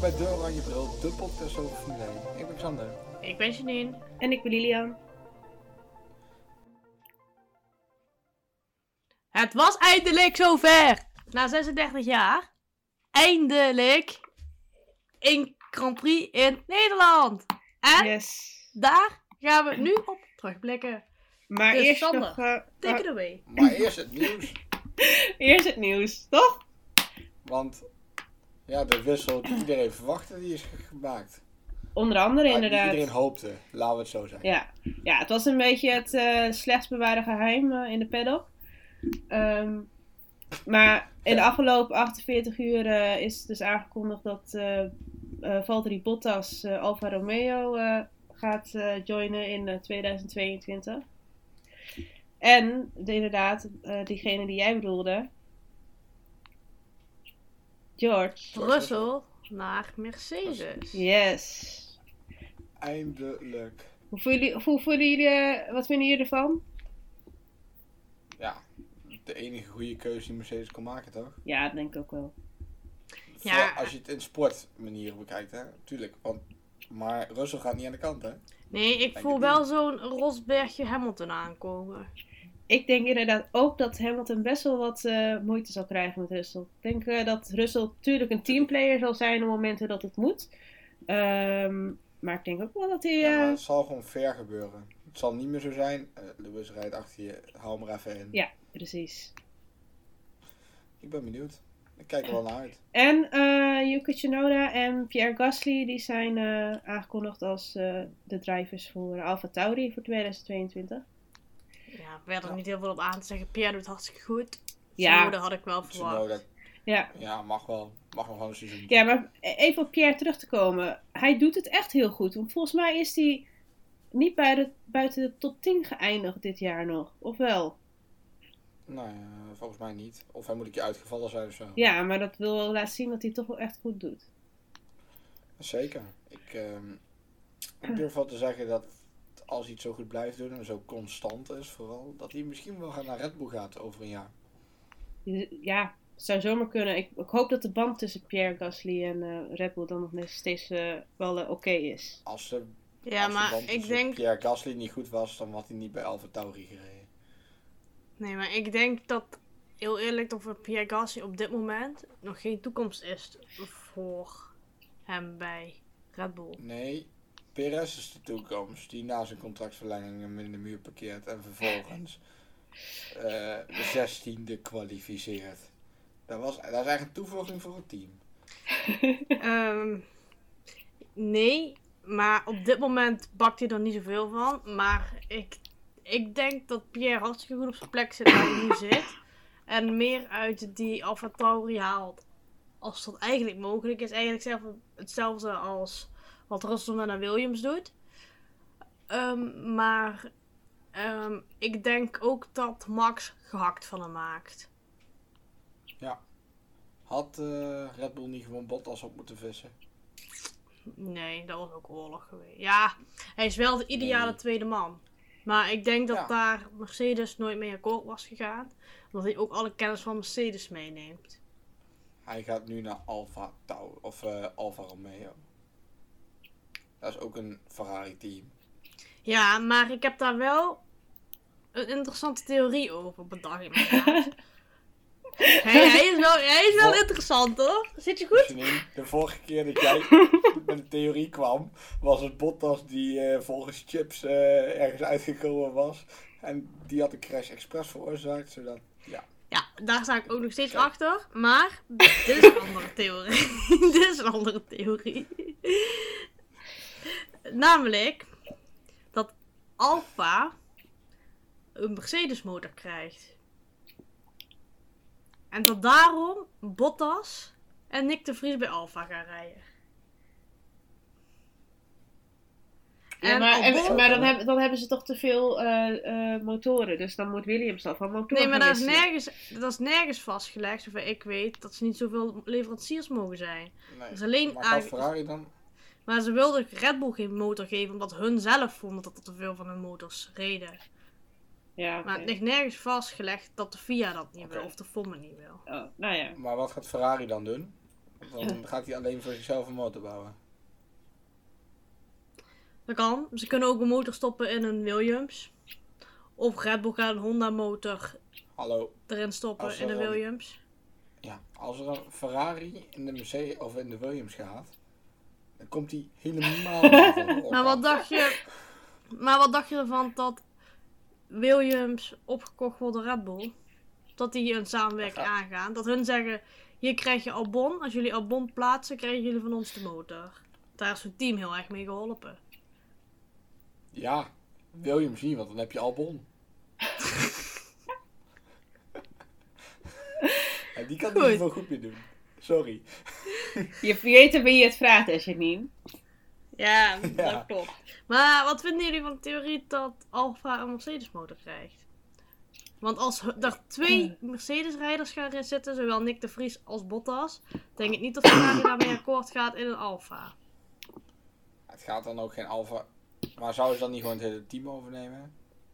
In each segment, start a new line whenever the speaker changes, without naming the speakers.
bij De Oranje Bril, de podcast over Formule 1. Ik ben Xander.
Ik ben Janine.
En ik ben Lilian.
Het was eindelijk zover! Na 36 jaar, eindelijk een Grand Prix in Nederland! En
Yes.
daar gaan we nu op terugblikken.
Maar
Dus
eerst
Sander,
nog... eh,
Take
eh,
it away.
Maar eerst het nieuws.
eerst het nieuws, toch?
Want ja, de wissel die iedereen verwachtte, die is ge- gemaakt.
Onder andere,
Maar
inderdaad.
Die Ah, iedereen hoopte, laten we het zo zeggen.
Ja. ja, het was een beetje het eh slechts bewaarde geheim eh, in de paddock. Ehm, maar in de
Ja.
afgelopen 48 uur eh, is dus aangekondigd dat eh eh, Valtteri Bottas eh, Alfa Romeo eh, gaat eh, joinen in eh, 2022. En de- inderdaad, eh, diegene die jij bedoelde, George.
Brussel naar Mercedes.
Yes.
Eindelijk.
Hoe voelen jullie, hoe voelen jullie eh, wat vinden jullie ervan?
Ja, de enige goede keuze die Mercedes kon maken, toch?
Ja, dat denk ik ook wel.
Ja.
Vooral Als je het in sportmanier bekijkt, hè? Tuurlijk. Want, maar Russell gaat niet aan de kant, hè?
Nee, ik voel wel zo'n Rosbergje Hamilton aankomen.
Ik denk inderdaad ook dat Hamilton best wel wat eh, moeite zal krijgen met Russell. Ik denk eh, dat Russell natuurlijk een teamplayer zal zijn op momenten dat het moet. Ehm, maar ik denk ook wel dat hij...
Ja, maar
eh,
het zal gewoon ver gebeuren. Het zal niet meer zo zijn. eh, Lewis rijdt achter je, hou hem er even in.
Ja. Precies.
Ik ben benieuwd. Ik kijk er wel naar uit.
En eh Yuki Tsunoda en Pierre Gasly die zijn eh, aangekondigd als eh, de drivers voor Alfa Tauri voor 2022.
Ja, ik werd er niet heel veel op aan te zeggen. Pierre doet hartstikke goed.
Ja.
Ja. Dat had ik wel
Tsunoda,
verwacht.
Ja.
ja, mag wel. Mag nog wel een seizoen.
Ja, maar even op Pierre terug te komen. Hij doet het echt heel goed. Want volgens mij is hij niet bij de, buiten de top 10 geëindigd dit jaar nog. Of wel?
Nou ja, volgens mij niet. Of hij moet ik je uitgevallen zijn of zo.
Ja, maar dat wil wel laten zien dat hij het toch wel echt goed doet.
Zeker. Ik, ehm, ik durf wel te zeggen dat als hij het zo goed blijft doen en zo constant is vooral, dat hij misschien wel naar Red Bull gaat over een jaar.
Ja, het zou zomaar kunnen. Ik, ik hoop dat de band tussen Pierre Gasly en eh, Red Bull dan nog steeds eh, wel eh, oké is.
Als de,
Ja,
als de
maar
band
ik
tussen
denk
Pierre Gasly niet goed was, dan had hij niet bij Alfa Tauri gereden.
Nee, maar ik denk dat, heel eerlijk, dat voor Pierre Gasly op dit moment nog geen toekomst is voor hem bij Red Bull.
Nee, Perez is de toekomst, die na zijn contractverlenging hem in de muur parkeert en vervolgens eh, de zestiende kwalificeert. Dat, was, dat is eigenlijk een toevoeging voor het team.
Ehm, nee, maar op dit moment bakt hij er niet zoveel van. Maar ik, ik denk dat Pierre hartstikke goed op zijn plek zit waar hij nu zit. En meer uit die Alfa Tauri haalt. Als dat eigenlijk mogelijk is. Eigenlijk zelf- hetzelfde als wat Russell met een Williams doet. Ehm, maar ehm, ik denk ook dat Max gehakt van hem maakt.
Had eh, Red Bull niet gewoon Bottas op moeten vissen?
Nee, dat was ook oorlog geweest. Ja, hij is wel de ideale
Nee.
tweede man. Maar ik denk dat
Ja.
daar Mercedes nooit mee akkoord was gegaan. Omdat hij ook alle kennis van Mercedes meeneemt.
Hij gaat nu naar Alfa Tau of eh Alfa Romeo. Dat is ook een Ferrari team.
Ja, maar ik heb daar wel een interessante theorie over bedacht. in mijn hoofd. hij, hij is wel, hij is wel
Wat?
interessant hoor. Zit je goed?
Janine, de vorige keer dat jij met de theorie kwam, was het Bottas die eh, volgens Chips eh, ergens uitgekomen was. En die had een crash express veroorzaakt, zodat... Ja,
Ja, daar sta ik ook nog steeds
Kijk.
achter. Maar dit is een andere theorie. dit is een andere theorie. Namelijk dat Alfa een Mercedes motor krijgt. En dat daarom Bottas en Nick de Vries bij Alfa gaan rijden.
Ja, maar, en-
Albon-
maar dan, hebben, dan hebben ze toch te veel eh, eh, motoren. Dus dan moet Williams al van motoren
Nee, maar
gaan
dat is,
wisselen.
nergens, dat is nergens vastgelegd, zover ik weet, dat ze niet zoveel leveranciers mogen zijn.
nee.
Dus alleen
maar gaat
eigenlijk-
Ferrari dan?
Maar ze wilden Red Bull geen motor geven, omdat hun zelf vonden dat er te veel van hun motors reden.
Ja,
Maar
oké.
het ligt nergens vastgelegd dat de FIA dat niet
Oké.
wil, of de FOM het niet wil.
Oh, nou ja.
Maar wat gaat Ferrari dan doen? Dan gaat hij alleen voor zichzelf een motor bouwen.
Dat kan. Ze kunnen ook een motor stoppen in een Williams. Of Red Bull gaat een Honda motor
Hallo,
erin stoppen
Als
in een
er een-
Williams.
ja, als er een Ferrari in de Mercedes of in de Williams gaat, dan komt hij helemaal niet voor de
Maar wat
orkaan.
dacht je... Maar wat dacht je ervan dat Williams opgekocht wordt door Red Bull? Dat die een samenwerking
Ja.
aangaan. Dat hun zeggen, hier krijg je Albon. Als jullie Albon plaatsen, krijgen jullie van ons de motor. Daar is hun team heel erg mee geholpen.
Ja, Williams niet, want dan heb je Albon. en die kan het
Goed.
niet veel goed meer doen. Sorry.
Je vergeet er wie je het vraagt, hè, Janine.
Ja,
Ja.
klopt.
Maar wat vinden jullie van de theorie dat Alfa een Mercedes motor krijgt? Want als hu- er twee Mercedes rijders gaan erin zitten, zowel Nick de Vries als Bottas, denk ik niet dat Ferrari daarmee akkoord gaat in een Alfa.
Het gaat dan ook geen Alfa. Maar zouden ze dan niet gewoon het hele team overnemen?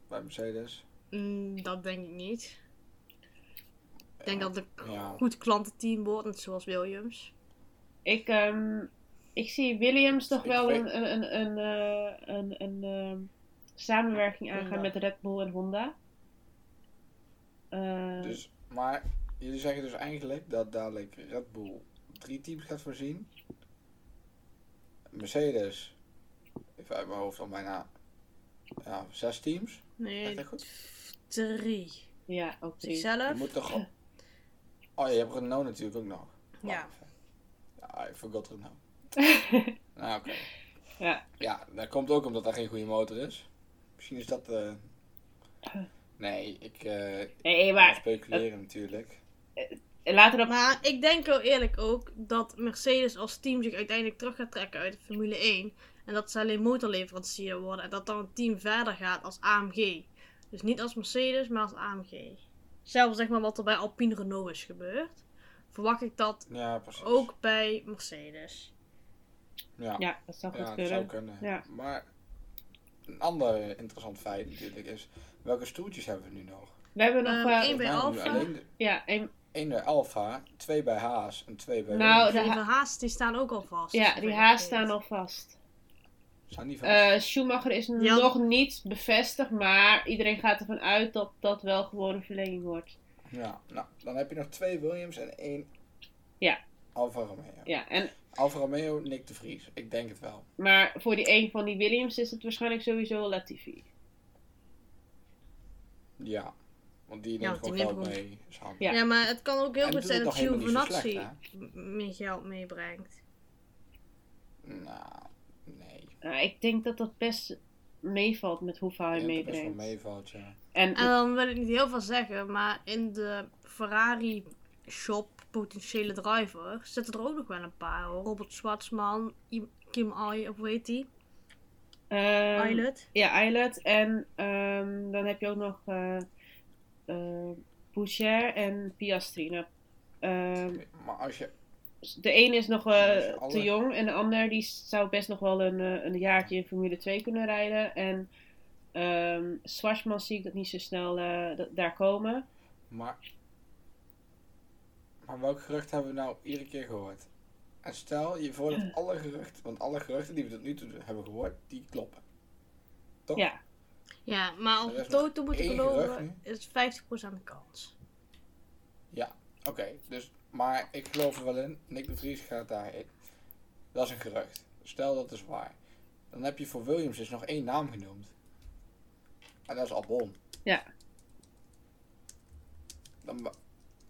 Bij Mercedes?
Mm, dat denk ik niet. Ik denk dat het een
Eh, Ja.
goed klantenteam wordt, net zoals Williams.
Ik, ehm, ik zie Williams toch
Ik
wel
weet-
een, een, een, een, eh, een, een ehm, samenwerking aangaan
Honda.
met Red Bull en Honda. Eh,
Dus, maar jullie zeggen dus eigenlijk dat dadelijk Red Bull drie teams gaat voorzien. Mercedes, even uit mijn hoofd al bijna ja, zes teams. Is
Nee,
dat goed?
drie.
ja, ook drie.
Je
Zichzelf?
moet toch. al- Oh ja, je hebt Renault natuurlijk ook nog. Wacht
Ja.
even. Ja, ik forgot Renault. nou, oké.
Ja.
Ja, dat komt ook omdat daar geen goede motor is. Misschien is dat. eh, Nee, ik. eh
Nee,
kan
maar
speculeren natuurlijk.
laten we dat...
Maar ik denk wel eerlijk ook dat Mercedes als team zich uiteindelijk terug gaat trekken uit de Formule 1. En dat ze alleen motorleverancier worden. En dat dan een team verder gaat als AMG. Dus niet als Mercedes, maar als AMG. Zelfs zeg maar wat er bij Alpine Renault is gebeurd. Verwacht ik dat
Ja, precies.
ook bij Mercedes.
Ja.
Ja, dat zou goed
Ja, dat
kunnen.
zou kunnen.
Ja.
Maar een ander interessant feit natuurlijk is, welke stoeltjes hebben we nu nog?
We hebben nog...
Ehm,
eh,
één- bij
Volgens mij
Alfa?
hebben we alleen de-
ja, één-
één bij Alfa, twee bij Haas en twee bij
Nou,
Williams.
Oh, Die
ha-
van Haas die staan ook al vast.
ja, die haas staan al vast.
Zijn die van?
Eh, Schumacher is
Ja.
nog niet bevestigd, maar iedereen gaat ervan uit dat dat wel gewoon een verlenging wordt.
ja, nou, dan heb je nog twee Williams en één
Ja.
Alfa Romeo.
Ja, en,
Alfa Romeo, Nick de Vries. Ik denk het wel.
maar voor die een van die Williams is het waarschijnlijk sowieso Latifi.
Ja. Want die
Ja,
neemt
want die
gewoon geld
neemt
mee. is handig.
Ja.
Ja. maar het kan ook heel
En
goed
doet
zijn
het
dat
nog helemaal niet zo
Giovinazzi
slecht,
m- meer geld meebrengt.
Nou, nee.
Nou, ik denk dat dat best meevalt met hoeveel hij
Ik denk dat best wel
meebrengt.
meevalt, ja.
En
En
dan Ehm, wil ik niet heel veel zeggen, maar in de Ferrari shop potentiële driver zitten er ook nog wel een paar. hoor. Robert Schwarzman, I- Kim Ai, of weet die?
ehm,
Pilot.
Ja, Islet. En ehm, dan heb je ook nog eh eh, Boucher en Piastri. Nou, ehm,
Maar als je
de een is nog eh,
Ja, dus alle-
te jong en de ander die zou best nog wel een, eh, een jaartje in Formule 2 kunnen rijden. En ehm Schwarzman zie ik dat niet zo snel eh, da- daar komen.
Maar, maar welk gerucht hebben we nou iedere keer gehoord? En stel je voor dat alle geruchten, want alle geruchten die we tot nu toe hebben gehoord, die kloppen. Toch?
Ja,
Ja, maar als
Er is
we
nog
Toto moeten
één
geloven,
gerucht
is het 50% kans.
Oké, dus, maar ik geloof er wel in, Nick de Vries gaat daarheen. Dat is een gerucht. Stel dat is waar. Dan heb je voor Williams dus nog één naam genoemd. En dat is Albon.
Ja.
Dan, ba-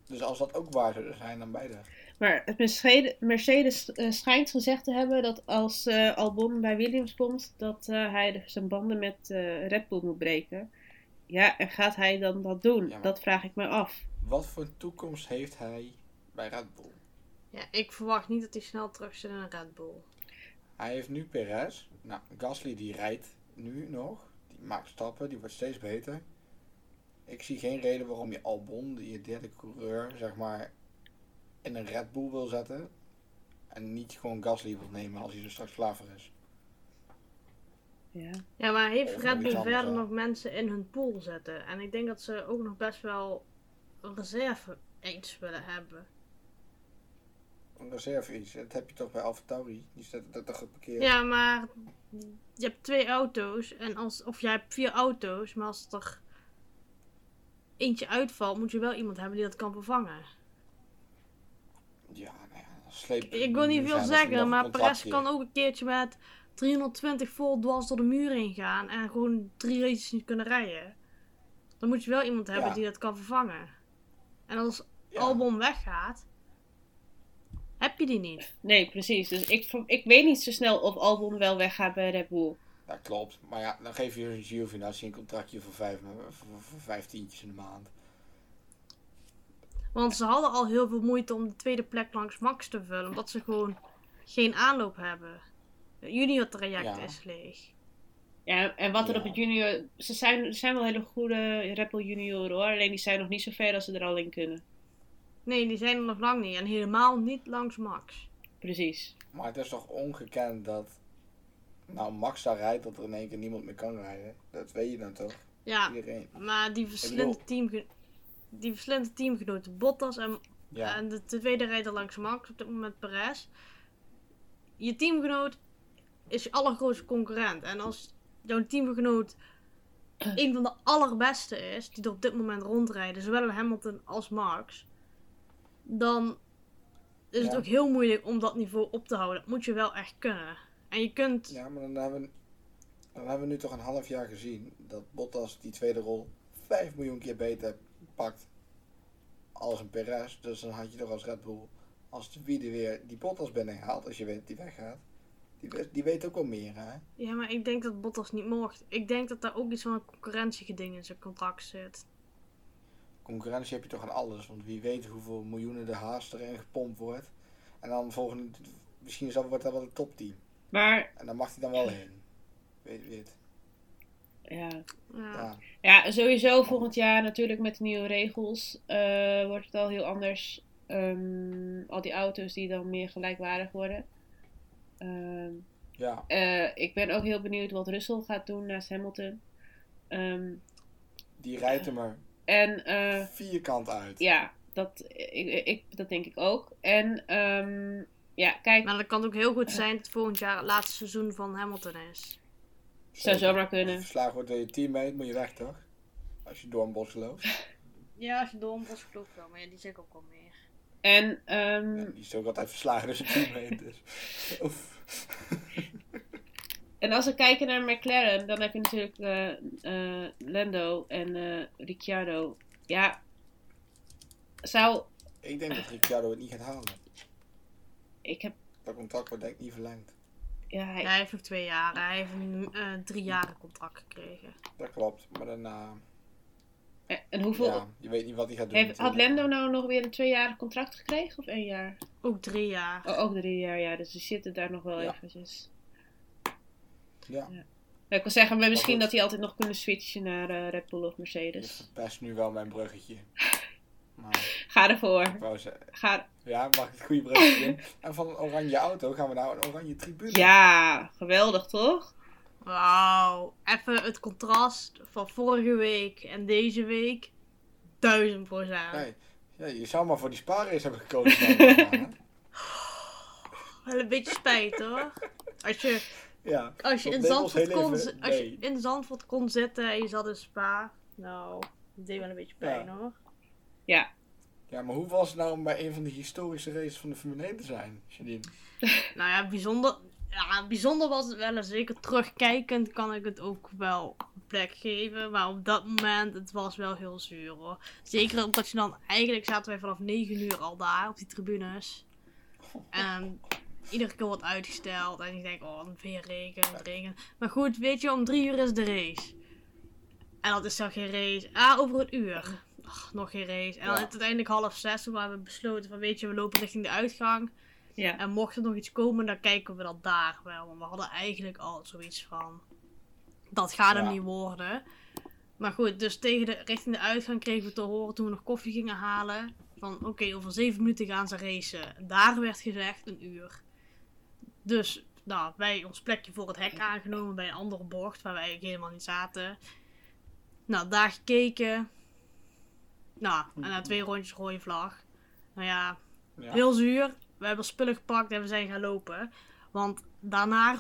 dus als dat ook waar zou zijn, dan beide.
maar het Mercedes, Mercedes eh, schijnt gezegd te hebben dat als eh, Albon bij Williams komt, dat eh, hij de- zijn banden met eh, Red Bull moet breken. Ja, en gaat hij dan dat doen?
Ja, maar-
Dat vraag ik me af.
Wat voor toekomst heeft hij bij Red Bull?
Ja, ik verwacht niet dat hij snel terug zit in een Red Bull.
Hij heeft nu Perez. Nou, Gasly die rijdt nu nog. Die maakt stappen, die wordt steeds beter. Ik zie geen reden waarom je Albon, die je derde coureur, zeg maar, in een Red Bull wil zetten. En niet gewoon Gasly wil nemen als hij er straks klaar voor is.
Ja.
Ja, maar heeft
Of nog iets
Red Bull
anders,
verder
hè?
nog mensen in hun pool zetten? En ik denk dat ze ook nog best wel een reserve eens willen hebben.
een reserve is. Dat heb je toch bij AlphaTauri. Die staat dat toch geparkeerd.
Ja, maar je hebt twee auto's. En als, of jij hebt vier auto's. Maar als er eentje uitvalt, moet je wel iemand hebben die dat kan vervangen.
Ja, nou ja, dan sleep
Ik wil
dan
niet veel
zijn dat nog
zeggen,
een
maar Perez
contractje.
kan ook een keertje met 320 vol dwars door de muur heen gaan. En gewoon drie races niet kunnen rijden. Dan moet je wel iemand hebben
Ja.
die dat kan vervangen. En als
Ja.
Albon weggaat, heb je die niet.
Nee, precies. Dus ik, ik weet niet zo snel of Albon wel weggaat bij Red Bull.
Dat klopt. Maar ja, dan geef je een Giovinazzi een contractje voor vijf, voor, voor vijf tientjes in de maand.
Want ze hadden al heel veel moeite om de tweede plek langs Max te vullen. Omdat ze gewoon geen aanloop hebben. Het junior traject
Ja.
is leeg.
Ja, en wat er
Ja.
op het junior... Ze zijn, er zijn wel hele goede Red Bull junioren hoor. Alleen die zijn nog niet zo ver als ze er al in kunnen.
Nee, die zijn er nog lang niet. En helemaal niet langs Max.
Precies.
Maar het is toch ongekend dat. Nou, Max daar rijdt, dat er in één keer niemand meer kan rijden. Dat weet je dan toch?
Ja,
Iedereen.
Maar die
Ik
verslinde, teamge- die verslinde teamgenoten Bottas en,
Ja.
en de tweede rijder langs Max, op dit moment Perez. Je teamgenoot is je allergrootste concurrent. En als jouw teamgenoot een van de allerbeste is, die er op dit moment rondrijden, zowel een Hamilton als Max, dan is het
Ja.
ook heel moeilijk om dat niveau op te houden. Dat moet je wel echt kunnen. En je kunt
ja, maar dan hebben, we, dan hebben we nu toch een half jaar gezien dat Bottas die tweede rol 5 miljoen keer beter pakt als een Perez. Dus dan had je toch als Red Bull, als de wie er weer die Bottas binnenhaalt, als je weet dat die weggaat. Die, weet- die weet ook wel meer, hè?
Ja, maar ik denk dat Bottas niet mocht. Ik denk dat daar ook iets van een concurrentiegeding in zijn contract zit.
concurrentie heb je toch aan alles. Want wie weet hoeveel miljoenen de haas erin gepompt wordt. En dan volgende, misschien is dat, wordt dat wel een topteam.
Maar
En dan mag hij dan wel heen. Weet weet.
ja...
Ja.
Ah.
Ja.
Ja, sowieso volgend jaar natuurlijk met de nieuwe regels eh, wordt het al heel anders. Ehm, al die auto's die dan meer gelijkwaardig worden. Ehm,
ja.
eh, ik ben ook heel benieuwd wat Russell gaat doen naast Hamilton. Ehm,
Die rijdt hem er
en eh,
vierkant uit.
ja, dat, ik, ik, dat denk ik ook. En ehm, ja, kijk,
Maar dat kan ook heel goed zijn dat volgend jaar het laatste seizoen van Hamilton is.
zou
Zeker.
zomaar kunnen.
Als je verslagen wordt door je teammate, moet je weg toch? Als je door een bos loopt.
Ja, als je dom was, geloof ik wel. Maar ja, die zeg ik ook al meer.
en ehm,
Ja, die is ook altijd verslagen door zijn teammate. Dus. Oef.
En als we kijken naar McLaren, dan heb je natuurlijk eh, eh, Lando en eh, Ricciardo. Ja, zou.
Ik denk dat Ricciardo het niet gaat halen.
Ik heb.
Dat contract wordt denk ik niet verlengd.
Ja, hij-
hij heeft nog twee jaar. Hij heeft een eh drie jaren contract gekregen.
Dat klopt. Maar daarna...
eh, En hoeveel.
Ja, je weet niet wat hij gaat doen.
Heeft, had
natuurlijk.
Lando nou nog weer een tweejarig contract gekregen of één jaar?
Ook drie jaar.
Oh, ook drie jaar, ja. Dus die zitten daar nog wel
Ja.
eventjes.
Ja.
Nou, ik wil zeggen, maar misschien
goed.
dat die altijd nog kunnen switchen naar eh, Red Bull of
Dus-
Mercedes.
Je verpest nu wel mijn bruggetje. Maar,
Ga ervoor.
ik wou zeggen,
Ga...
ja, mag ik het goede bruggetje in? En van een oranje auto gaan we nou een oranje tribune.
Ja, geweldig toch?
Wauw. Even het contrast van vorige week en deze week. Duizend procent.
Nee, ja, je zou maar voor die spaarrace hebben gekozen. dan, hè?
Wel een beetje spijt hoor. Als je
ja,
Als je,
Dat
in
deed ons
Zandvoort
heel
kon,
even-
als je
nee.
in Zandvoort kon zitten en je zat in Spa. Nou, dat deed wel een beetje pijn
Ja.
hoor.
ja, maar hoe was het nou om bij een van de historische races van de Formule 1 te zijn, Janine?
Nou ja, bijzonder, ja, bijzonder was het wel. En zeker terugkijkend kan ik het ook wel een plek geven. Maar op dat moment, het was wel heel zuur hoor. Zeker omdat je dan, eigenlijk zaten wij vanaf 9 uur al daar op die tribunes. En iedere keer wordt uitgesteld. En ik denk, oh, dan weer regen, het regen. Maar goed, weet je, om drie uur is de race. En dat is dan geen race. Ah, over een uur. Ach, nog geen race. En
Ja.
dan is het uiteindelijk half zes. Toen hebben we besloten van, weet je, we lopen richting de uitgang.
Ja.
En mocht er nog iets komen, dan kijken we dat daar wel. Want we hadden eigenlijk al zoiets van. Dat gaat hem
Ja.
niet worden. Maar goed, dus tegen de, richting de uitgang kregen we te horen toen we nog koffie gingen halen. Van oké, over zeven minuten gaan ze racen. En Daar werd gezegd een uur. Dus nou, wij ons plekje voor het hek aangenomen bij een andere bocht waar wij eigenlijk helemaal niet zaten. Nou, daar gekeken. Nou, en na twee rondjes rode vlag. Nou ja,
Ja.
heel zuur. we hebben spullen gepakt en we zijn gaan lopen. Want daarna,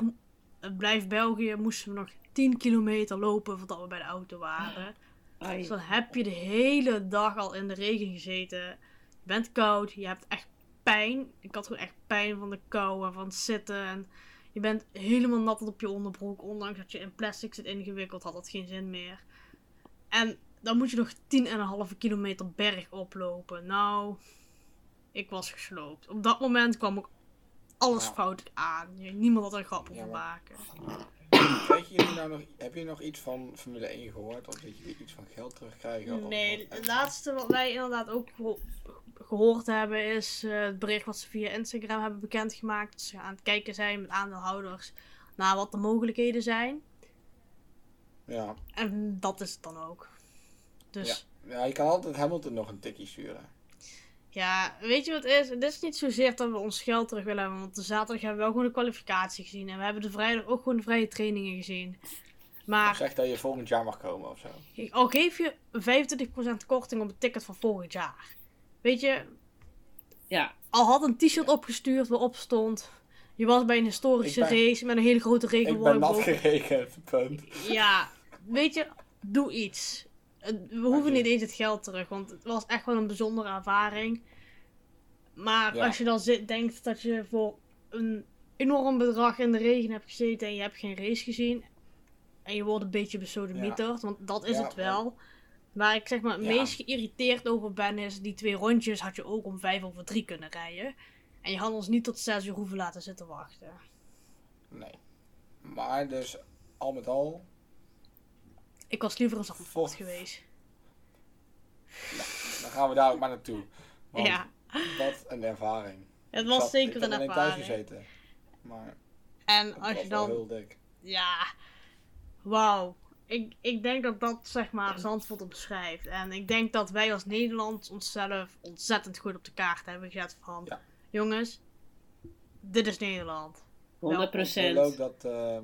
het blijft België, moesten we nog 10 kilometer lopen voordat we bij de auto waren.
Ai.
Dus dan heb je de hele dag al in de regen gezeten. Je bent koud, je hebt echt pijn. Ik had gewoon echt pijn van de kou en van het zitten. En je bent helemaal nat tot op je onderbroek. Ondanks dat je in plastic zit ingewikkeld, had dat geen zin meer. En dan moet je nog 10,5 kilometer berg oplopen. Nou, ik was gesloopt. Op dat moment kwam ook alles
Ja.
fout aan. Niemand had er een grap over
Ja, maar-
maken.
Weet je jullie nou nog, heb je nog iets van Formule 1 gehoord? Of dat jullie iets van geld terugkrijgen? Of
Nee,
wat-
het laatste wat wij inderdaad ook geho- gehoord hebben is eh, het bericht wat ze via Instagram hebben bekendgemaakt. Dat ze aan het kijken zijn met aandeelhouders naar wat de mogelijkheden zijn.
Ja.
En dat is het dan ook. Dus
ja, je kan altijd Hamilton nog een tikkie sturen.
ja, weet je wat het is? Het is niet zozeer dat we ons geld terug willen hebben. Want de zaterdag hebben we wel gewoon de kwalificatie gezien. En we hebben de vrijdag ook gewoon de vrije trainingen gezien. Maar
Zeg dat je volgend jaar mag komen of zo.
Ik- Al geef je 25% korting op het ticket van volgend jaar. Weet je?
Ja.
Al had een t-shirt opgestuurd waarop stond. Je was bij een historische
Ik ben-
race met een hele grote
Ik ben
regenworm.
nat
boven.
gerekend, punt.
Ja, weet je, doe iets. Het- We hoeven
je-
niet eens het geld terug, want het was echt wel een bijzondere ervaring. Maar
Ja.
als je dan zit, denkt dat je voor een enorm bedrag in de regen hebt gezeten en je hebt geen race gezien. En je wordt een beetje besodemieterd, want dat is
Ja,
het wel. Waar ik zeg maar het
Ja.
meest geïrriteerd over ben is, die twee rondjes had je ook om vijf over drie kunnen rijden. En je had ons niet tot zes uur hoeven laten zitten wachten.
Nee. Maar dus, al met al,
Ik was liever een zandvoort
Volgens-
geweest.
dan gaan we daar ook maar naartoe. Want
Ja,
wat een ervaring.
het
Ik
was
zat-
zeker een
Ik heb alleen thuis
ervaring.
gezeten. Maar
En
het
als
was
je
wel
dan.
heel dik.
Ja. Wauw. Ik, ik denk dat dat zeg maar Zandvoort op beschrijft. En ik denk dat wij als Nederland onszelf ontzettend goed op de kaart hebben gezet van...
Ja.
Jongens, dit is Nederland.
100
Ik wil ook dat. eh,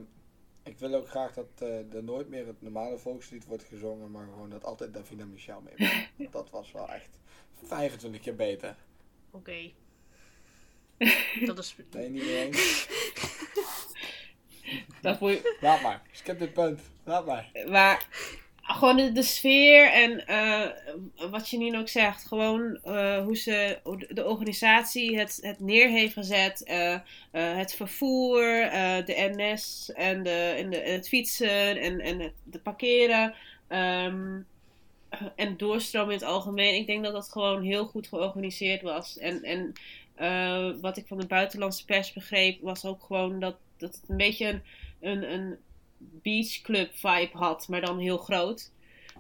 ik wil ook graag dat eh, er nooit meer het normale volkslied wordt gezongen, maar gewoon dat altijd Davina Michel mee mag. Want Dat was wel echt 25 keer beter.
Oké. dat is...
Nee, niet meer eens.
Dat moet je-
Laat maar. Skip dit punt. Laat maar.
maar gewoon de, de sfeer en eh, wat Janine ook zegt. Gewoon eh, hoe ze hoe de- de organisatie het, het neer heeft gezet. eh, eh, het vervoer, eh, de NS en, de, en, de, en het fietsen en, en het de parkeren. ehm, en doorstroom in het algemeen. Ik denk dat dat gewoon heel goed georganiseerd was. En, en eh, wat ik van de buitenlandse pers begreep, was ook gewoon dat, dat het een beetje een, een, een beachclub vibe had, maar dan heel groot.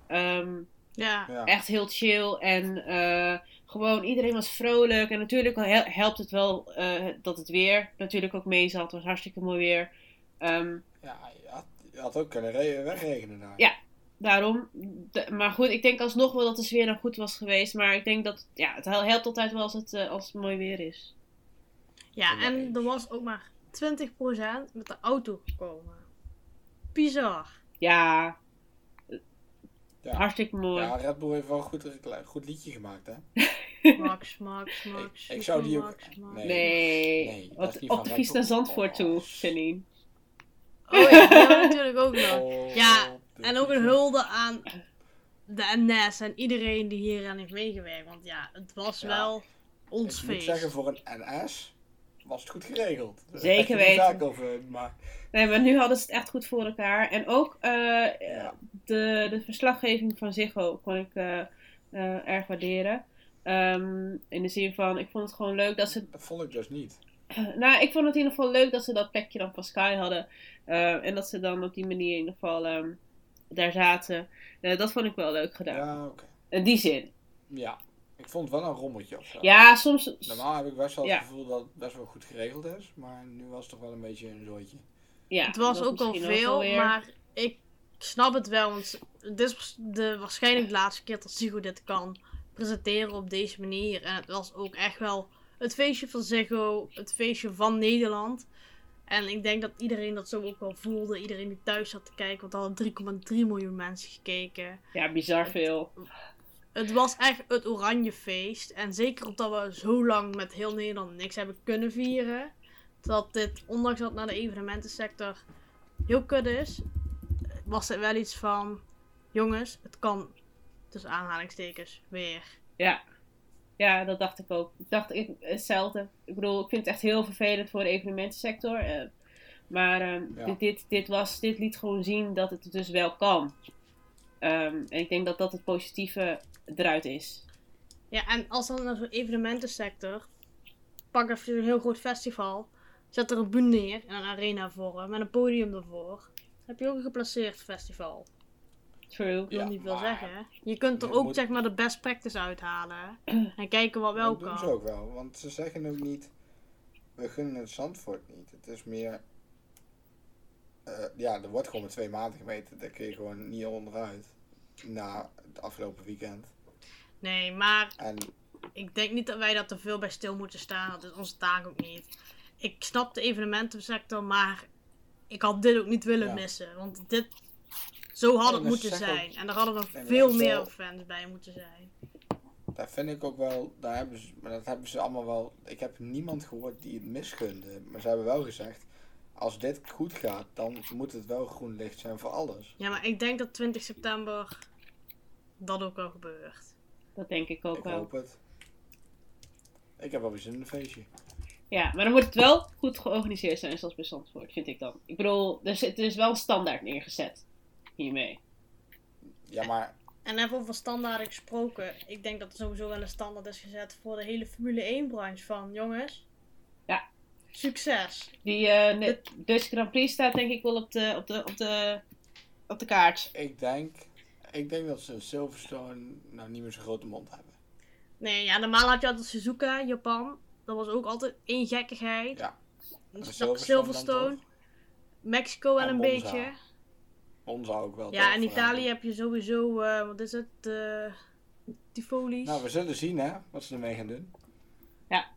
Ehm,
Ja.
Ja.
Echt heel chill en eh, gewoon iedereen was vrolijk. En natuurlijk hel- helpt het wel eh, dat het weer natuurlijk ook mee zat. Het was hartstikke mooi weer. Ehm,
Ja, je had, je had ook kunnen re- wegregenen daar.
Ja. daarom. De- maar goed, ik denk alsnog wel dat de sfeer dan goed was geweest. Maar ik denk dat ja, het hel- helpt altijd wel als het, eh, als het mooi weer is.
ja,
Helemaal
en
eens.
er was ook maar 20% met de auto gekomen. Bizar.
Ja,
Ja.
hartstikke mooi.
Ja, Red Bull heeft wel een goed, recla- goed liedje gemaakt, hè?
Max, Max, Max.
ik zou die ook-
Max, Max.
nee.
nee,
Nee, dat is
op,
die
op
van
de
Red
fiets naar
Bull.
Zandvoort toe,
Oh.
Janine.
Oh ja, die hebben we natuurlijk ook nog.
Oh,
Ja,
dit
En ook
is-
een hulde aan de NS en iedereen die hier aan heeft meegewerkt. Want ja, het was
Ja.
wel ons
Ik moet
feest.
zeggen, voor een NS was het goed geregeld. Daar
Zeker
heb je de
weten.
zaak over, maar
Nee, maar nu hadden ze het echt goed voor elkaar. En ook eh,
Ja.
de, de verslaggeving van Ziggo kon ik eh, eh, erg waarderen. Ehm, in de zin van, ik vond het gewoon leuk dat ze...
dat vond ik dus niet.
Nou, ik vond het in ieder geval leuk dat ze dat plekje dan van Sky hadden. Eh, en dat ze dan op die manier in ieder geval ehm, daar zaten. Eh, dat vond ik wel leuk
Ja,
gedaan.
oké.
In die zin.
Ja, ik vond het wel een rommeltje of zo.
Ja, soms...
Normaal heb ik best wel
Ja.
het gevoel dat het best wel goed geregeld is, maar nu was het toch wel een beetje een zooitje.
Ja,
het was
dat
ook al
misschien
veel,
weer.
maar ik snap het wel. Want dit is de, waarschijnlijk de laatste keer dat Ziggo dit kan presenteren op deze manier. En het was ook echt wel het feestje van Ziggo, het feestje van Nederland. En ik denk dat iedereen dat zo ook wel voelde. Iedereen die thuis zat te kijken, want er hadden 3,3 miljoen mensen gekeken.
Ja, bizar veel.
Het was echt het oranje feest. En zeker omdat we zo lang met heel Nederland niks hebben kunnen vieren. Dat dit, ondanks dat het naar de evenementensector heel kut is, was er wel iets van... Jongens, het kan, tussen aanhalingstekens, weer.
Ja. Ja, dat dacht ik ook. Ik dacht ik, hetzelfde. Ik bedoel, ik vind het echt heel vervelend voor de evenementensector. eh, maar ehm,
Ja.
dit, dit, dit, was, dit liet gewoon zien dat het dus wel kan. Ehm, en ik denk dat dat het positieve eruit is.
Ja, en als dan zo'n evenementensector. Pak even een heel groot festival. Zet er een bühne neer en een arena voor met een podium ervoor. Heb je ook een geplaceerd festival?
True.
Ik wil
Ja,
niet veel
maar-
zeggen. Je kunt er
Nee,
ook
moet-
zeg maar de best practice uithalen. En kijken wat wel
Dat doen ze
kan.
ook wel, want ze zeggen ook niet, we gunnen het Zandvoort niet. Het is meer, eh, ja, er wordt gewoon met twee maanden gemeten. Daar kun je gewoon niet onderuit na het afgelopen weekend.
Nee, maar
En
ik denk niet dat wij daar te veel bij stil moeten staan. Dat is onze taak ook niet. Ik snap de evenementensector, maar ik had dit ook niet willen
Ja.
missen. Want dit, zo
Nee,
had het
maar ze
moeten
zeggen
zijn. En daar hadden we
maar
veel
dat is
meer
wel-
fans bij moeten zijn.
daar vind ik ook wel, daar hebben ze, maar dat hebben ze allemaal wel, ik heb niemand gehoord die het misgunde. Maar ze hebben wel gezegd, als dit goed gaat, dan moet het wel groen licht zijn voor alles.
Ja, maar ik denk dat 20 september dat ook wel gebeurt.
Dat denk ik ook
ik
wel.
hoop het. Ik heb wel weer zin in een feestje.
Ja, maar dan moet het wel goed georganiseerd zijn, zoals bij Zandvoort, vind ik dan. Ik bedoel, er, zit- er is wel een standaard neergezet hiermee.
Ja, maar
En even over standaard gesproken. Ik denk dat er sowieso wel een standaard is gezet voor de hele Formule 1 branche van jongens.
Ja.
Succes.
Die eh, ne- Dutch Grand Prix staat denk ik wel op de, op de, op de, op de kaart.
Ik denk, ik denk dat ze in Silverstone nou niet meer zo'n grote mond hebben.
Nee, ja, normaal had je altijd Suzuka, Japan. Dat was ook altijd één gekkigheid.
Ja.
Dus
Maar
dat-
dan
Silverstone.
toch?
Mexico wel
En
een
Monza.
beetje.
Monza ook wel.
Ja,
toch?
in Italië heb je sowieso, eh, wat is het? eh Tivoli's.
Nou, we zullen zien hè, wat ze ermee gaan doen.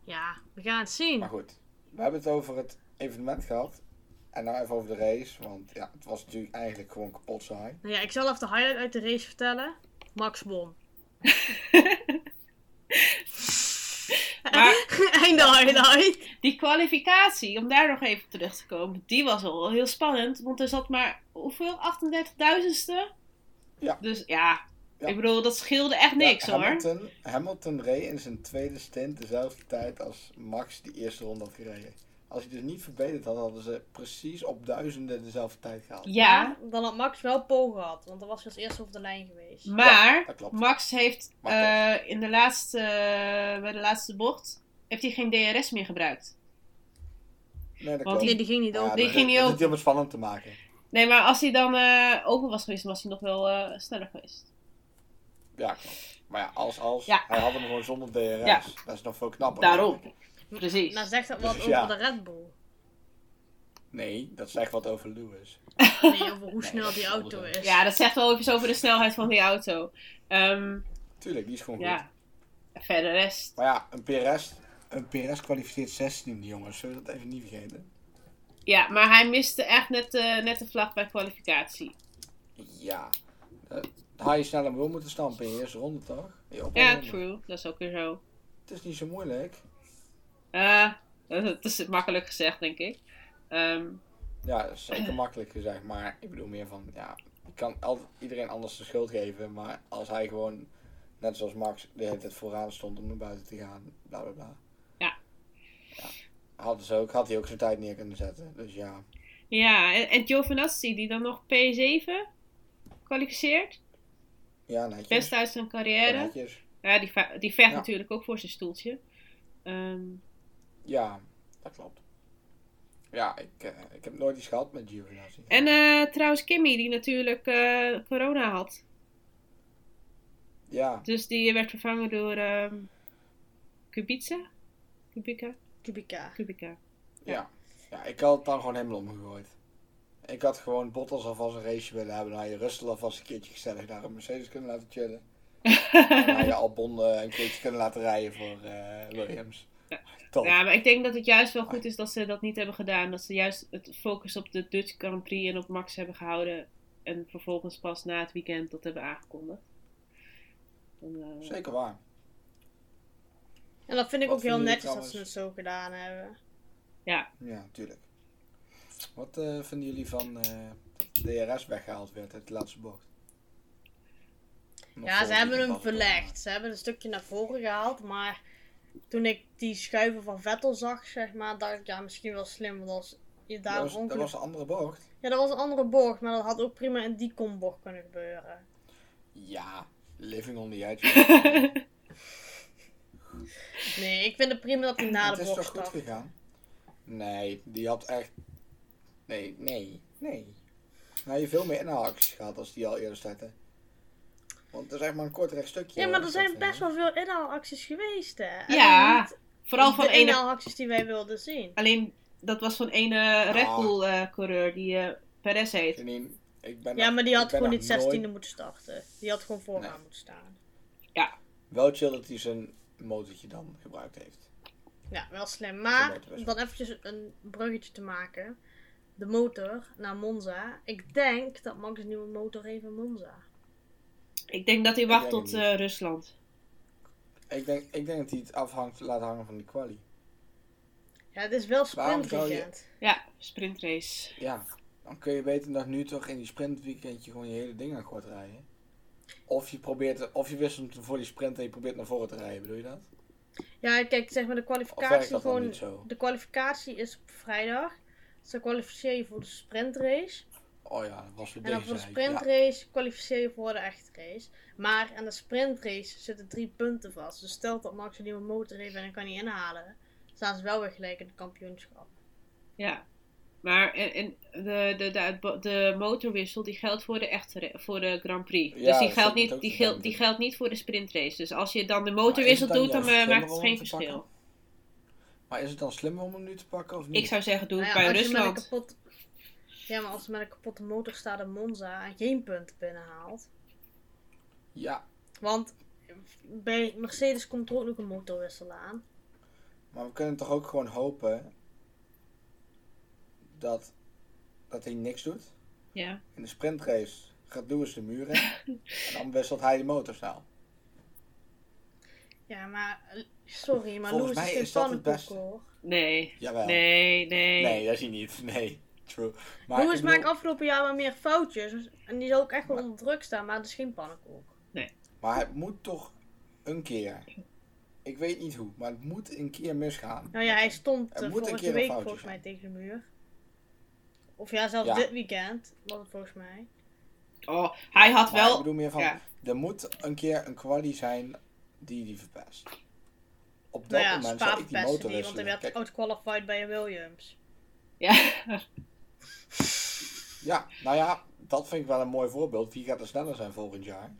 Ja, we gaan het zien.
Maar goed, we hebben het over het evenement gehad. En nou even over de race, want ja, het was natuurlijk eigenlijk gewoon kapot saai.
Nou ja, ik zal even de highlight uit de race vertellen. Max won.
Maar-
Einde highlight.
Die kwalificatie, om daar nog even op terug te komen, die was al heel spannend. Want er zat maar, hoeveel? 38.000ste?
Ja.
Dus ja,
Ja.
ik bedoel, dat scheelde echt niks
Ja,
hoor.
Hamilton, Hamilton reed in zijn tweede stint dezelfde tijd als Max die eerste ronde had gereden. Als hij dus niet verbeterd had, hadden ze precies op duizenden dezelfde tijd gehaald.
Ja,
Dan had Max wel Po gehad, want dan was hij als eerste op de lijn geweest.
Ja,
Maar
dat klopt.
Max heeft
Maar
eh, in de laatste, eh, bij de laatste bocht heeft hij geen DRS meer gebruikt.
Nee, dat
Want
klopt.
Nee, die ging niet
Ja,
open.
die
dat-
ging niet
Dat
open.
is heel wat spannend te maken.
Nee, maar als hij dan eh open was geweest, dan was hij nog wel eh, sneller geweest.
Ja, klopt. Maar ja, als, als.
Ja.
Hij had hem gewoon zonder DRS.
Ja.
Dat is nog veel knapper.
Daarom. Precies.
Nou zegt dat wat
Dus
over
ja.
de Red Bull.
Nee, dat zegt wat over Lewis.
Nee, over hoe
Nee,
snel
dat
die
is
auto
anders.
is.
Ja, dat zegt wel even over de snelheid van die auto. Ehm,
Tuurlijk, die is gewoon goed.
ja. Verder rest.
Maar ja, een PRS, een PRS kwalificeert 16 jongens. Zullen we dat even niet vergeten?
Ja, maar hij miste echt net, eh, net de vlag bij kwalificatie.
Ja. Eh, Dan had je snel hem wil moeten stampen in je eerste ronde, toch? Je op-
Ja,
ronde.
true. Dat is ook weer zo.
Het is niet zo moeilijk.
Eh, dat is makkelijk gezegd, denk ik. Ehm,
Ja, dat is zeker makkelijk gezegd. Maar ik bedoel meer van, ja, ik kan altijd iedereen anders de schuld geven. Maar als hij gewoon, net zoals Max, de hele tijd vooraan stond om naar buiten te gaan, bla bla bla.
Ja.
Ja. Had, ze ook, had hij ook zijn tijd neer kunnen zetten. Dus ja,
Ja, en, en Giovinazzi die dan nog P7 kwalificeert.
ja netjes.
Best uit zijn carrière.
Netjes.
Ja, die, va- die vecht
Ja.
natuurlijk ook voor zijn stoeltje. Ehm,
Ja, dat klopt. Ja, ik, eh, ik heb nooit iets gehad met Giovinazzi.
en eh, trouwens Kimmy die natuurlijk eh, corona had.
Ja,
Dus die werd vervangen door ehm Kubica? Kubica?
Kubica.
Kubica.
ja. Ja, ik had het dan gewoon helemaal omgegooid. Ik had gewoon Bottas alvast een raceje willen hebben. Dan had je Russell alvast een keertje gezellig naar een Mercedes kunnen laten chillen. En dan had je Albon eh, een keertje kunnen laten rijden voor eh, Williams. Top.
ja, maar ik denk dat het juist wel goed is dat ze dat niet hebben gedaan. Dat ze juist het focus op de Dutch Grand Prix en op Max hebben gehouden. En vervolgens pas na het weekend dat hebben aangekondigd. Dan, eh,
Zeker waar.
En dat vind ik
Wat
ook heel
vinden
netjes
jullie
dat ze het zo gedaan hebben.
ja,
Ja, tuurlijk. Wat eh, vinden jullie van eh, dat DRS weggehaald werd uit de laatste bocht? Nog
ja,
voor
ze
die
hebben hem
bal kwam.
verlegd. Ze hebben een stukje naar voren gehaald, maar toen ik die schuiven van Vettel zag, zeg maar, dacht ik, ja, misschien wel slim, want als je daar
Dat
een
was, dat
ongeluk...
was een andere bocht.
Ja, dat was een andere bocht, maar dat had ook prima in die kombocht kunnen gebeuren.
Ja, living on the edge.
Nee, ik vind het prima dat hij na
het
de
is
bocht
toch goed
start.
gegaan? Nee, die had echt. Nee, nee, nee. Nou, je veel meer inhaalacties gehad als die al eerder startte. Want het is echt maar een kort recht stukje.
Ja,
hoor,
maar er
dat
zijn
vind
best
ik.
wel veel inhaalacties geweest, hè. En
Ja,
niet
vooral van
de
ene
inhaalacties die wij wilden zien.
Alleen dat was van ene Red Bull eh, coureur die eh, Perez heet.
Janine, Oh. ik ben
Ja,
nog-
maar die had
ik ben
gewoon
nog
niet 16e
nooit-
moeten starten. Die had gewoon vooraan
Nee.
moeten staan.
Wel chill dat hij zijn motortje dan gebruikt heeft.
Ja, wel slim.
Dat
Maar
lijkt me best
dan eventjes een bruggetje te maken. De motor naar Monza. Ik denk dat Max een nieuwe motor heeft in Monza.
Ik denk dat hij
Ik
wacht
denk
tot
het
eh, Rusland.
Ik denk, ik denk dat hij het afhangt, laat hangen van die quali.
Ja, het is wel
Waarom zou je-
sprintweekend.
Ja, sprintrace.
Ja, dan kun je beter nog nu toch in die sprintweekendje gewoon je hele ding aan kort rijden. Of je, probeert, of je wisselt voor die sprint en je probeert naar voren te rijden, bedoel je dat?
Ja, kijk, zeg maar de
Of werkt
kwalificatie
dat dan
gewoon...
niet zo?
De kwalificatie is op vrijdag. Dus dan kwalificeer je voor de sprintrace.
Oh ja, dat was weer
En dan voor
deze
de
week. Ja.
sprintrace kwalificeer je voor de echte race. Maar aan de sprintrace zitten drie punten vast. Dus stel dat Max een nieuwe motor heeft en dan kan hij inhalen. Staan ze wel weer gelijk in het kampioenschap.
Ja. Maar en, en de, de, de, uitbo- de motorwissel die geldt voor de echte re- voor de Grand Prix.
Ja,
dus die
dat zat
geldt,
ik
niet,
ook
die,
te
gel-
denken.
die geldt niet voor de sprintrace. Dus als je dan de
Maar is
motorwissel
het dan
doet, dan
juist
eh,
slimmer
maakt het
om
geen
hem te pakken?
verschil.
Maar is het dan slimmer om hem nu te pakken of niet?
Ik zou zeggen, doe het
Nou ja,
bij
als je met een
Rusland.
kapot... Ja, maar als je met een kapotte motor staat in Monza en geen punten binnenhaalt.
Ja,
Want bij Mercedes komt er ook nog een motorwissel aan.
maar we kunnen toch ook gewoon hopen dat, dat hij niks doet?
Ja.
In de sprintrace gaat Lewis de muren en dan wisselt hij de motor snel.
Ja, maar eh, sorry, maar
Volgens
Lewis
mij
is geen
is dat het
pannenkoek hoor.
Nee.
Jawel.
Nee, nee.
Nee, dat is hij niet. Nee, true. Maar
Lewis
ik
maakt
bedoel-
afgelopen jaar wel meer foutjes. dus- En die zal ook echt wel
Maar-
onder druk staan, maar het is geen pannenkoek.
Maar het moet toch een keer. Ik weet niet hoe, maar het moet een keer misgaan.
Nou ja, hij stond
Er
eh,
moet een keer
vorige
een
week
foutje
volgens mij
zijn.
tegen de muur. Of ja, zelfs
Ja.
dit weekend was het volgens mij.
Oh, hij had
Maar Ik
wel.
bedoel meer van,
ja.
er moet een keer een quali zijn die die verpest. Op dat
Nou ja,
moment
Spa
zou ik die
verpestte
motor
die, want hij
wisselen.
werd
Kijk,
outqualified bij Williams.
Ja.
ja, nou ja, dat vind ik wel een mooi voorbeeld. Wie gaat er sneller zijn volgend jaar?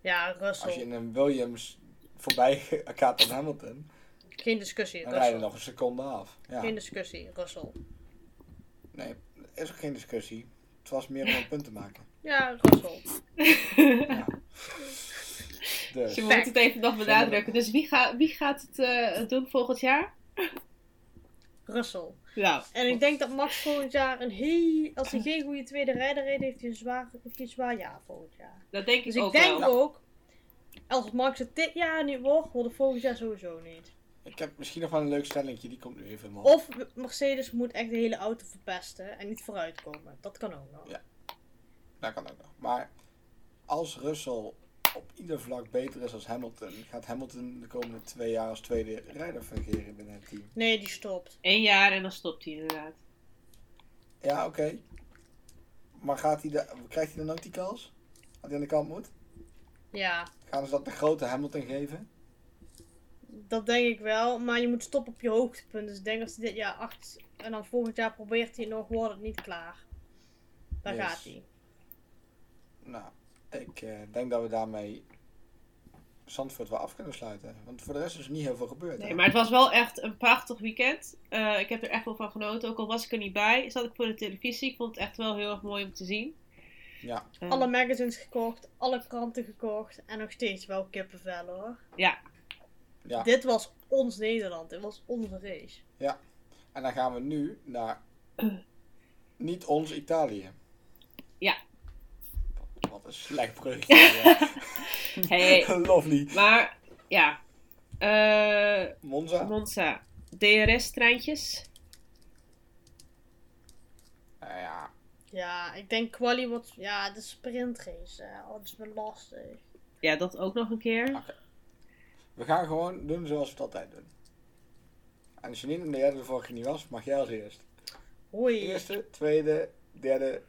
Ja, Russell.
Als je in een Williams voorbij gaat aan Hamilton,
Geen discussie,
dan rijden
Russell.
we nog een seconde af. Ja.
Geen discussie, Russell.
Nee, er is ook geen discussie. Het was meer om een punt te maken.
Ja, Russell.
Ja.
Dus
Dus,
je moet het even nog benadrukken. Dus wie, gaat wie gaat het eh, doen volgend jaar?
Russell.
Nou,
En ik denk dat Max volgend jaar een heel... Als hij geen goede tweede rijder reed, heeft hij een zwaar, heeft hij een zwaar jaar volgend jaar.
dat denk ik
Dus
ook
ik denk
wel.
ook... Als Max het dit jaar niet wordt, wordt het volgend jaar sowieso niet.
ik heb misschien nog wel een leuk stellingje, die komt nu even in mijn hoofd.
Of Mercedes moet echt de hele auto verpesten en niet vooruitkomen. Dat kan ook nog.
Ja. Dat kan ook nog. Maar als Russell op ieder vlak beter is als Hamilton, gaat Hamilton de komende twee jaar als tweede rijder fungeren binnen het team.
Nee, die stopt.
Eén jaar en dan stopt hij inderdaad.
Ja, oké. Maar gaat hij de, krijgt hij dan ook die kans? Dat hij aan de kant moet?
Ja,
Gaan ze dat de grote Hamilton geven?
dat denk ik wel. Maar je moet stoppen op je hoogtepunt. Dus ik denk als hij dit jaar acht en dan volgend jaar probeert hij het nog, wordt het niet klaar. Daar
Yes.
gaat hij.
Nou, ik eh, denk dat we daarmee Zandvoort wel af kunnen sluiten. Want voor de rest is er niet heel veel gebeurd.
Nee,
hè?
maar het was wel echt een prachtig weekend. Eh, ik heb er echt wel van genoten. Ook al was ik er niet bij, zat ik voor de televisie. Ik vond het echt wel heel erg mooi om te zien.
Ja.
Eh,
Alle magazines gekocht, alle kranten gekocht en nog steeds wel kippenvel hoor.
Ja,
Ja.
Dit was ons Nederland, dit was onze race.
En dan gaan we nu naar niet ons Italië.
Ja.
Wat een slecht bruggetje. ja.
Hey,
Lovely.
maar ja. Eh
Monza?
Monza. DRS-treintjes.
Nou ja,
Ja, ik denk quali wordt... Ja, de sprintrace. eh, Oh, dat is wel lastig.
Ja, dat ook nog een keer.
we gaan gewoon doen zoals we het altijd doen. En Janine, omdat jij er de vorige keer niet was, mag jij als eerst.
Hoi.
Eerste, tweede, derde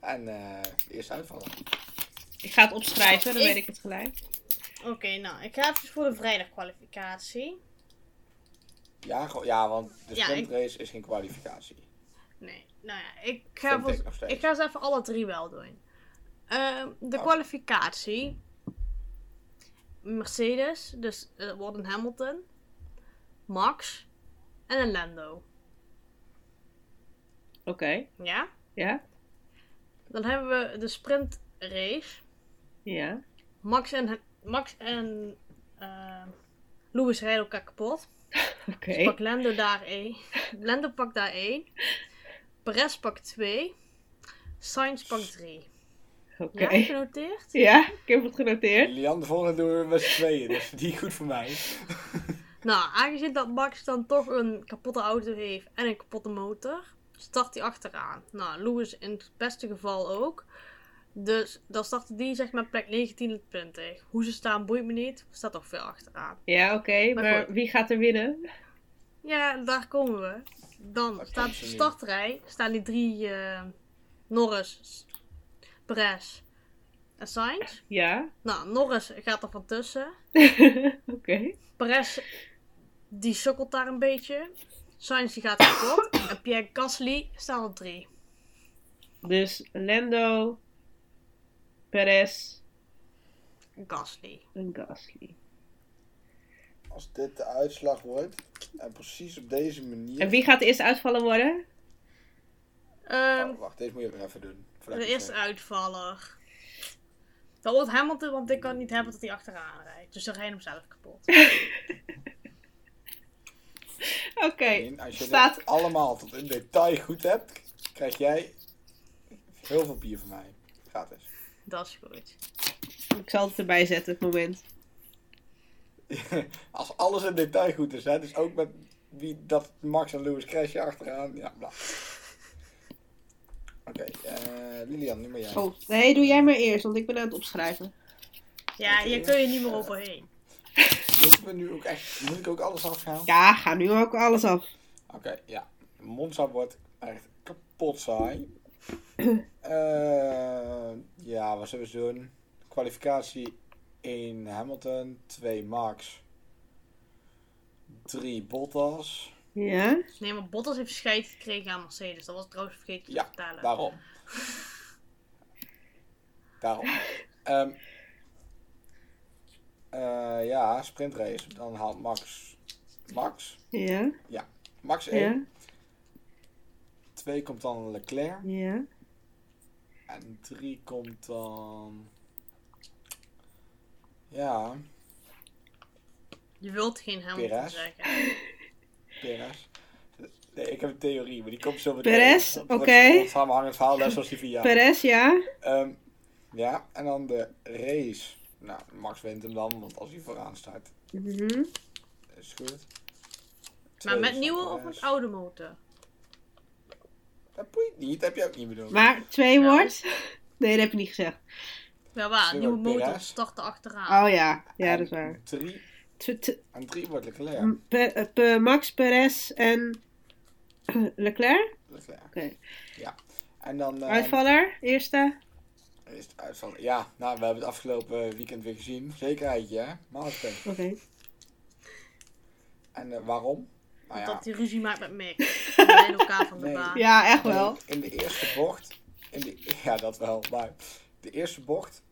en eh eerst uitvallen.
Ik ga het opschrijven, dan
Ik-
weet ik het gelijk.
Oké, nou. Ik ga even voor de vrijdagkwalificatie.
Ja, go- ja want de
Ja, ik-
sprintrace is geen kwalificatie.
Nee. Nou ja, ik ga
Vind
voor...
ik nog steeds.
Ik ga ze even alle drie wel doen. Ehm, de
Oh.
kwalificatie. Mercedes, dus eh, wordt een Hamilton. Max. En een Lando.
Oké,
Ja?
ja,
Dan hebben we de sprintrace.
ja.
Max en, Max en ehm, Lewis rijden elkaar kapot.
Oké,
Dus pak Lando daar één. Lando pakt daar één. Perez pakt twee. Sainz pakt drie.
oké.
Ja, genoteerd.
Ja, ik heb het genoteerd.
Lian, de volgende doen we met z'n tweeën, dus die is goed voor mij.
Nou, aangezien dat Max dan toch een kapotte auto heeft en een kapotte motor, start hij achteraan. Nou, Lewis in het beste geval ook. Dus dan startte die zeg maar plek 19 tot 20. Hoe ze staan boeit me niet, staat toch veel achteraan.
Ja, oké,
Maar
maar,
goed.
wie gaat er winnen?
Ja, daar komen we. Dan
Daar
staat
komt
op
ze
de
nu.
startrij staan die drie eh, Norris, Perez en Sainz.
Ja,
Nou, Norris gaat er van tussen.
oké.
Perez, die sukkelt daar een beetje. Sainz, die gaat kapot. En Pierre Gasly staan op drie.
Dus Lando, Perez
Gasly.
en Gasly.
Als dit de uitslag wordt, en precies op deze manier...
En wie gaat de eerste uitvallen worden?
Ehm,
Oh, wacht, deze moet je weer even doen. voordat
de
ik het
eerste
zeg.
uitvaller. Dat wordt Hamilton, want ik kan het niet hebben dat hij achteraan rijdt. Dus dan rijdt hem zelf kapot.
Oké,
Janine, Als je
staat-
dit allemaal tot in detail goed hebt, krijg jij heel veel bier van mij. Gratis.
Dat is goed.
ik zal het erbij zetten, het moment.
Als alles in detail goed is, hè, dus ook met wie dat Max en Lewis crashen achteraan, ja, bla. Oké, eh, Lilian, nu ben jij.
Oh, nee, doe jij maar eerst, want ik ben aan het opschrijven.
Ja, hier kun je niet
Eh.
meer overheen.
Moeten we nu ook echt, moet ik ook alles afgaan?
Ja, ga nu ook alles af.
Oké, ja. Monza wordt echt kapot saai. Eh, ja, wat zullen we doen? Kwalificatie 1 Hamilton, 2 Max, 3 Bottas.
Ja,
Nee, maar Bottas heeft scheid gekregen aan Mercedes. Dat was ik trouwens vergeten
Ja,
te vertellen.
Daarom. Daarom. Ehm, eh, ja, sprintrace. Dan haalt Max. Max?
ja,
Max 1.
ja,
2 komt dan Leclerc.
ja.
En 3 komt dan. Ja,
Je wilt geen Hamilton
Perez.
zeggen.
Perez. Nee, ik heb een theorie, maar die komt zo meteen.
Perez,
Dat wordt
oké.
een Samenhangend verhaal, net zoals die van jou.
Perez, ja.
Ehm, ja, en dan de race. Nou, Max wint hem dan, want als hij vooraan staat,
Mhm.
is het goed.
Maar
Tweede
met
van
nieuwe of
Perez.
met oude motor?
Dat boeit niet, heb je ook niet bedoeld.
Maar twee
Ja.
wordt? Nee, dat heb je niet gezegd.
Ja, waar?
Stuart
Nieuwe motor
Perez.
startte achteraan.
Oh ja, ja, dat is
En
waar.
Drie,
Tw- tw-
en drie wordt Leclerc.
M- Pe- eh, Pe- Max Perez en Leclerc.
Leclerc.
Oké.
Ja. En dan. ehm,
Uitvaller, eerste.
Is het uitval? Ja, nou, we hebben het afgelopen weekend weer gezien. Zekerheidje, hè? Milestone.
Oké.
En eh, waarom? Nou ja,
Dat hij ruzie maakt met Mick. Ze rijden elkaar van de
Nee.
baan.
Ja, echt
in-
wel.
in de eerste bocht. In de, ja, dat wel. Maar de eerste bocht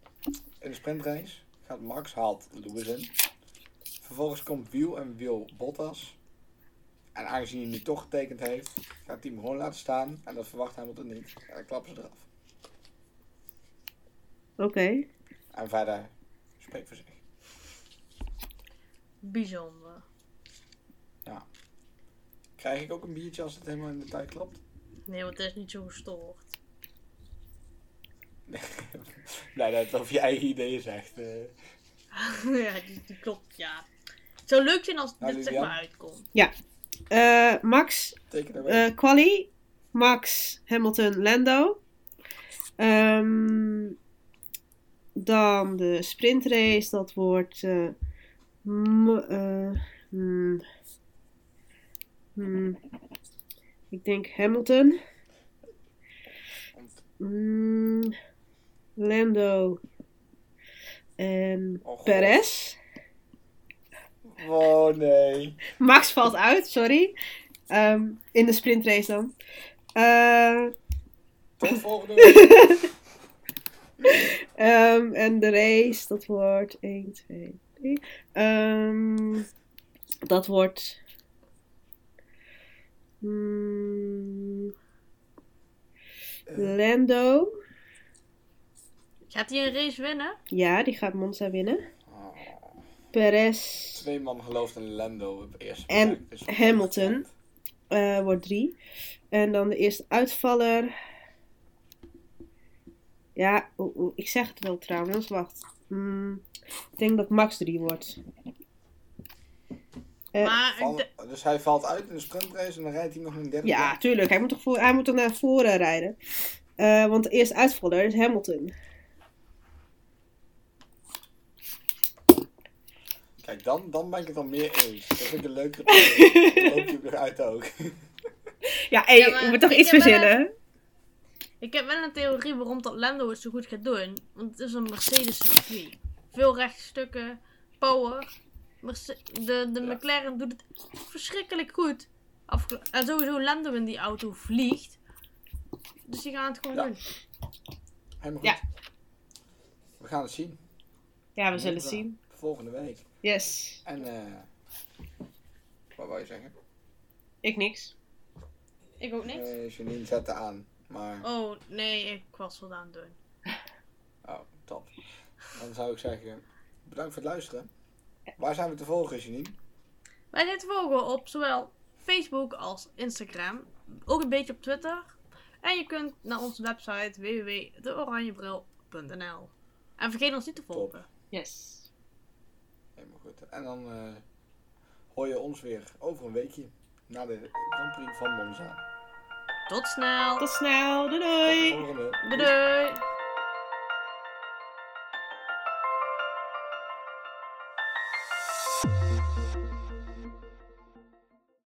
in de sprintrace gaat Max, haalt Lewis in. Vervolgens komt Wiel en Wiel Bottas. En aangezien hij nu toch getekend heeft, gaat hij hem gewoon laten staan. En dat verwacht Hamilton niet. En dan eh, klappen ze eraf.
Oké.
En verder spreekt voor zich.
Bijzonder.
Krijg ik ook een biertje als het helemaal in de tijd klopt?
Nee, want het is niet zo gestoord.
blij dat het over je eigen ideeën zegt. eh.
ja, die, die klopt, ja. Het zou leuk zijn als
Nou,
dit zeg
Lilian?
maar uitkomt.
Eh, Max,
Teken erbij.
eh Quali, Max, Hamilton, Lando. Ehm, dan de sprintrace, dat wordt. eh, m- eh, hmm. Hmm. Ik denk Hamilton. Hmm. Lando. En
Oh, God.
Perez.
Oh nee.
Max valt uit, sorry. Ehm, in de sprintrace dan. Eh,
Tot volgende week.
Ehm, en de race, dat wordt 1, 2, 3. Ehm, dat wordt. Mm, Lando.
Gaat hij een race winnen?
Ja, die gaat Monza winnen.
Oh,
Perez
twee man gelooft in Lando op eerste
En
plek, dus wat
Hamilton.
dat betreft.
eh, wordt 3. En dan de eerste uitvaller. Ja, oeh, oeh, ik zeg het wel trouwens. dus Wacht. Mm, ik denk dat Max 3 wordt. Eh,
maar ik de-
Val- dus hij valt uit in de sprintrace en dan rijdt hij nog een derde.
Ja, tuurlijk. Hij moet toch, voor, hij moet toch naar voren rijden. Eh, want de eerste uitvaller is Hamilton.
Kijk, dan, dan ben ik het al meer eens. Dat vind ik een leuke. Dan loop je eruit ook.
Ja, hey,
Ja, maar
je moet toch
ik
iets
heb wel
verzinnen?
ik heb wel een theorie waarom dat Lando het zo goed gaat doen. Want het is een Mercedes circuit. Veel rechtstukken, power. Merce- de de
Ja.
McLaren doet het verschrikkelijk goed. Afge- en sowieso Lando in die auto vliegt. Dus die gaan het gewoon
Ja.
doen.
Helemaal goed.
Ja.
We gaan het zien.
Ja, we
Moet
zullen
wel.
zien.
Volgende week.
Yes.
En eh. Wat wou je zeggen?
Ik niks.
Ik ook niet.
Eh, Janine zette aan. Maar.
Oh nee, ik was wat aan het doen.
Oh, top. Dan zou ik zeggen. Bedankt voor het luisteren. Waar zijn we te volgen, Janine?
Wij zijn te volgen op zowel Facebook als Instagram. Ook een beetje op Twitter. En je kunt naar onze website www.deoranjebril.nl En vergeet ons niet te volgen.
Yes.
Helemaal goed. En dan eh, hoor je ons weer over een weekje. Na de Grand Prix van Monza.
Tot snel.
Tot snel. Doei
Tot de
doei.
volgende.
Doei doei.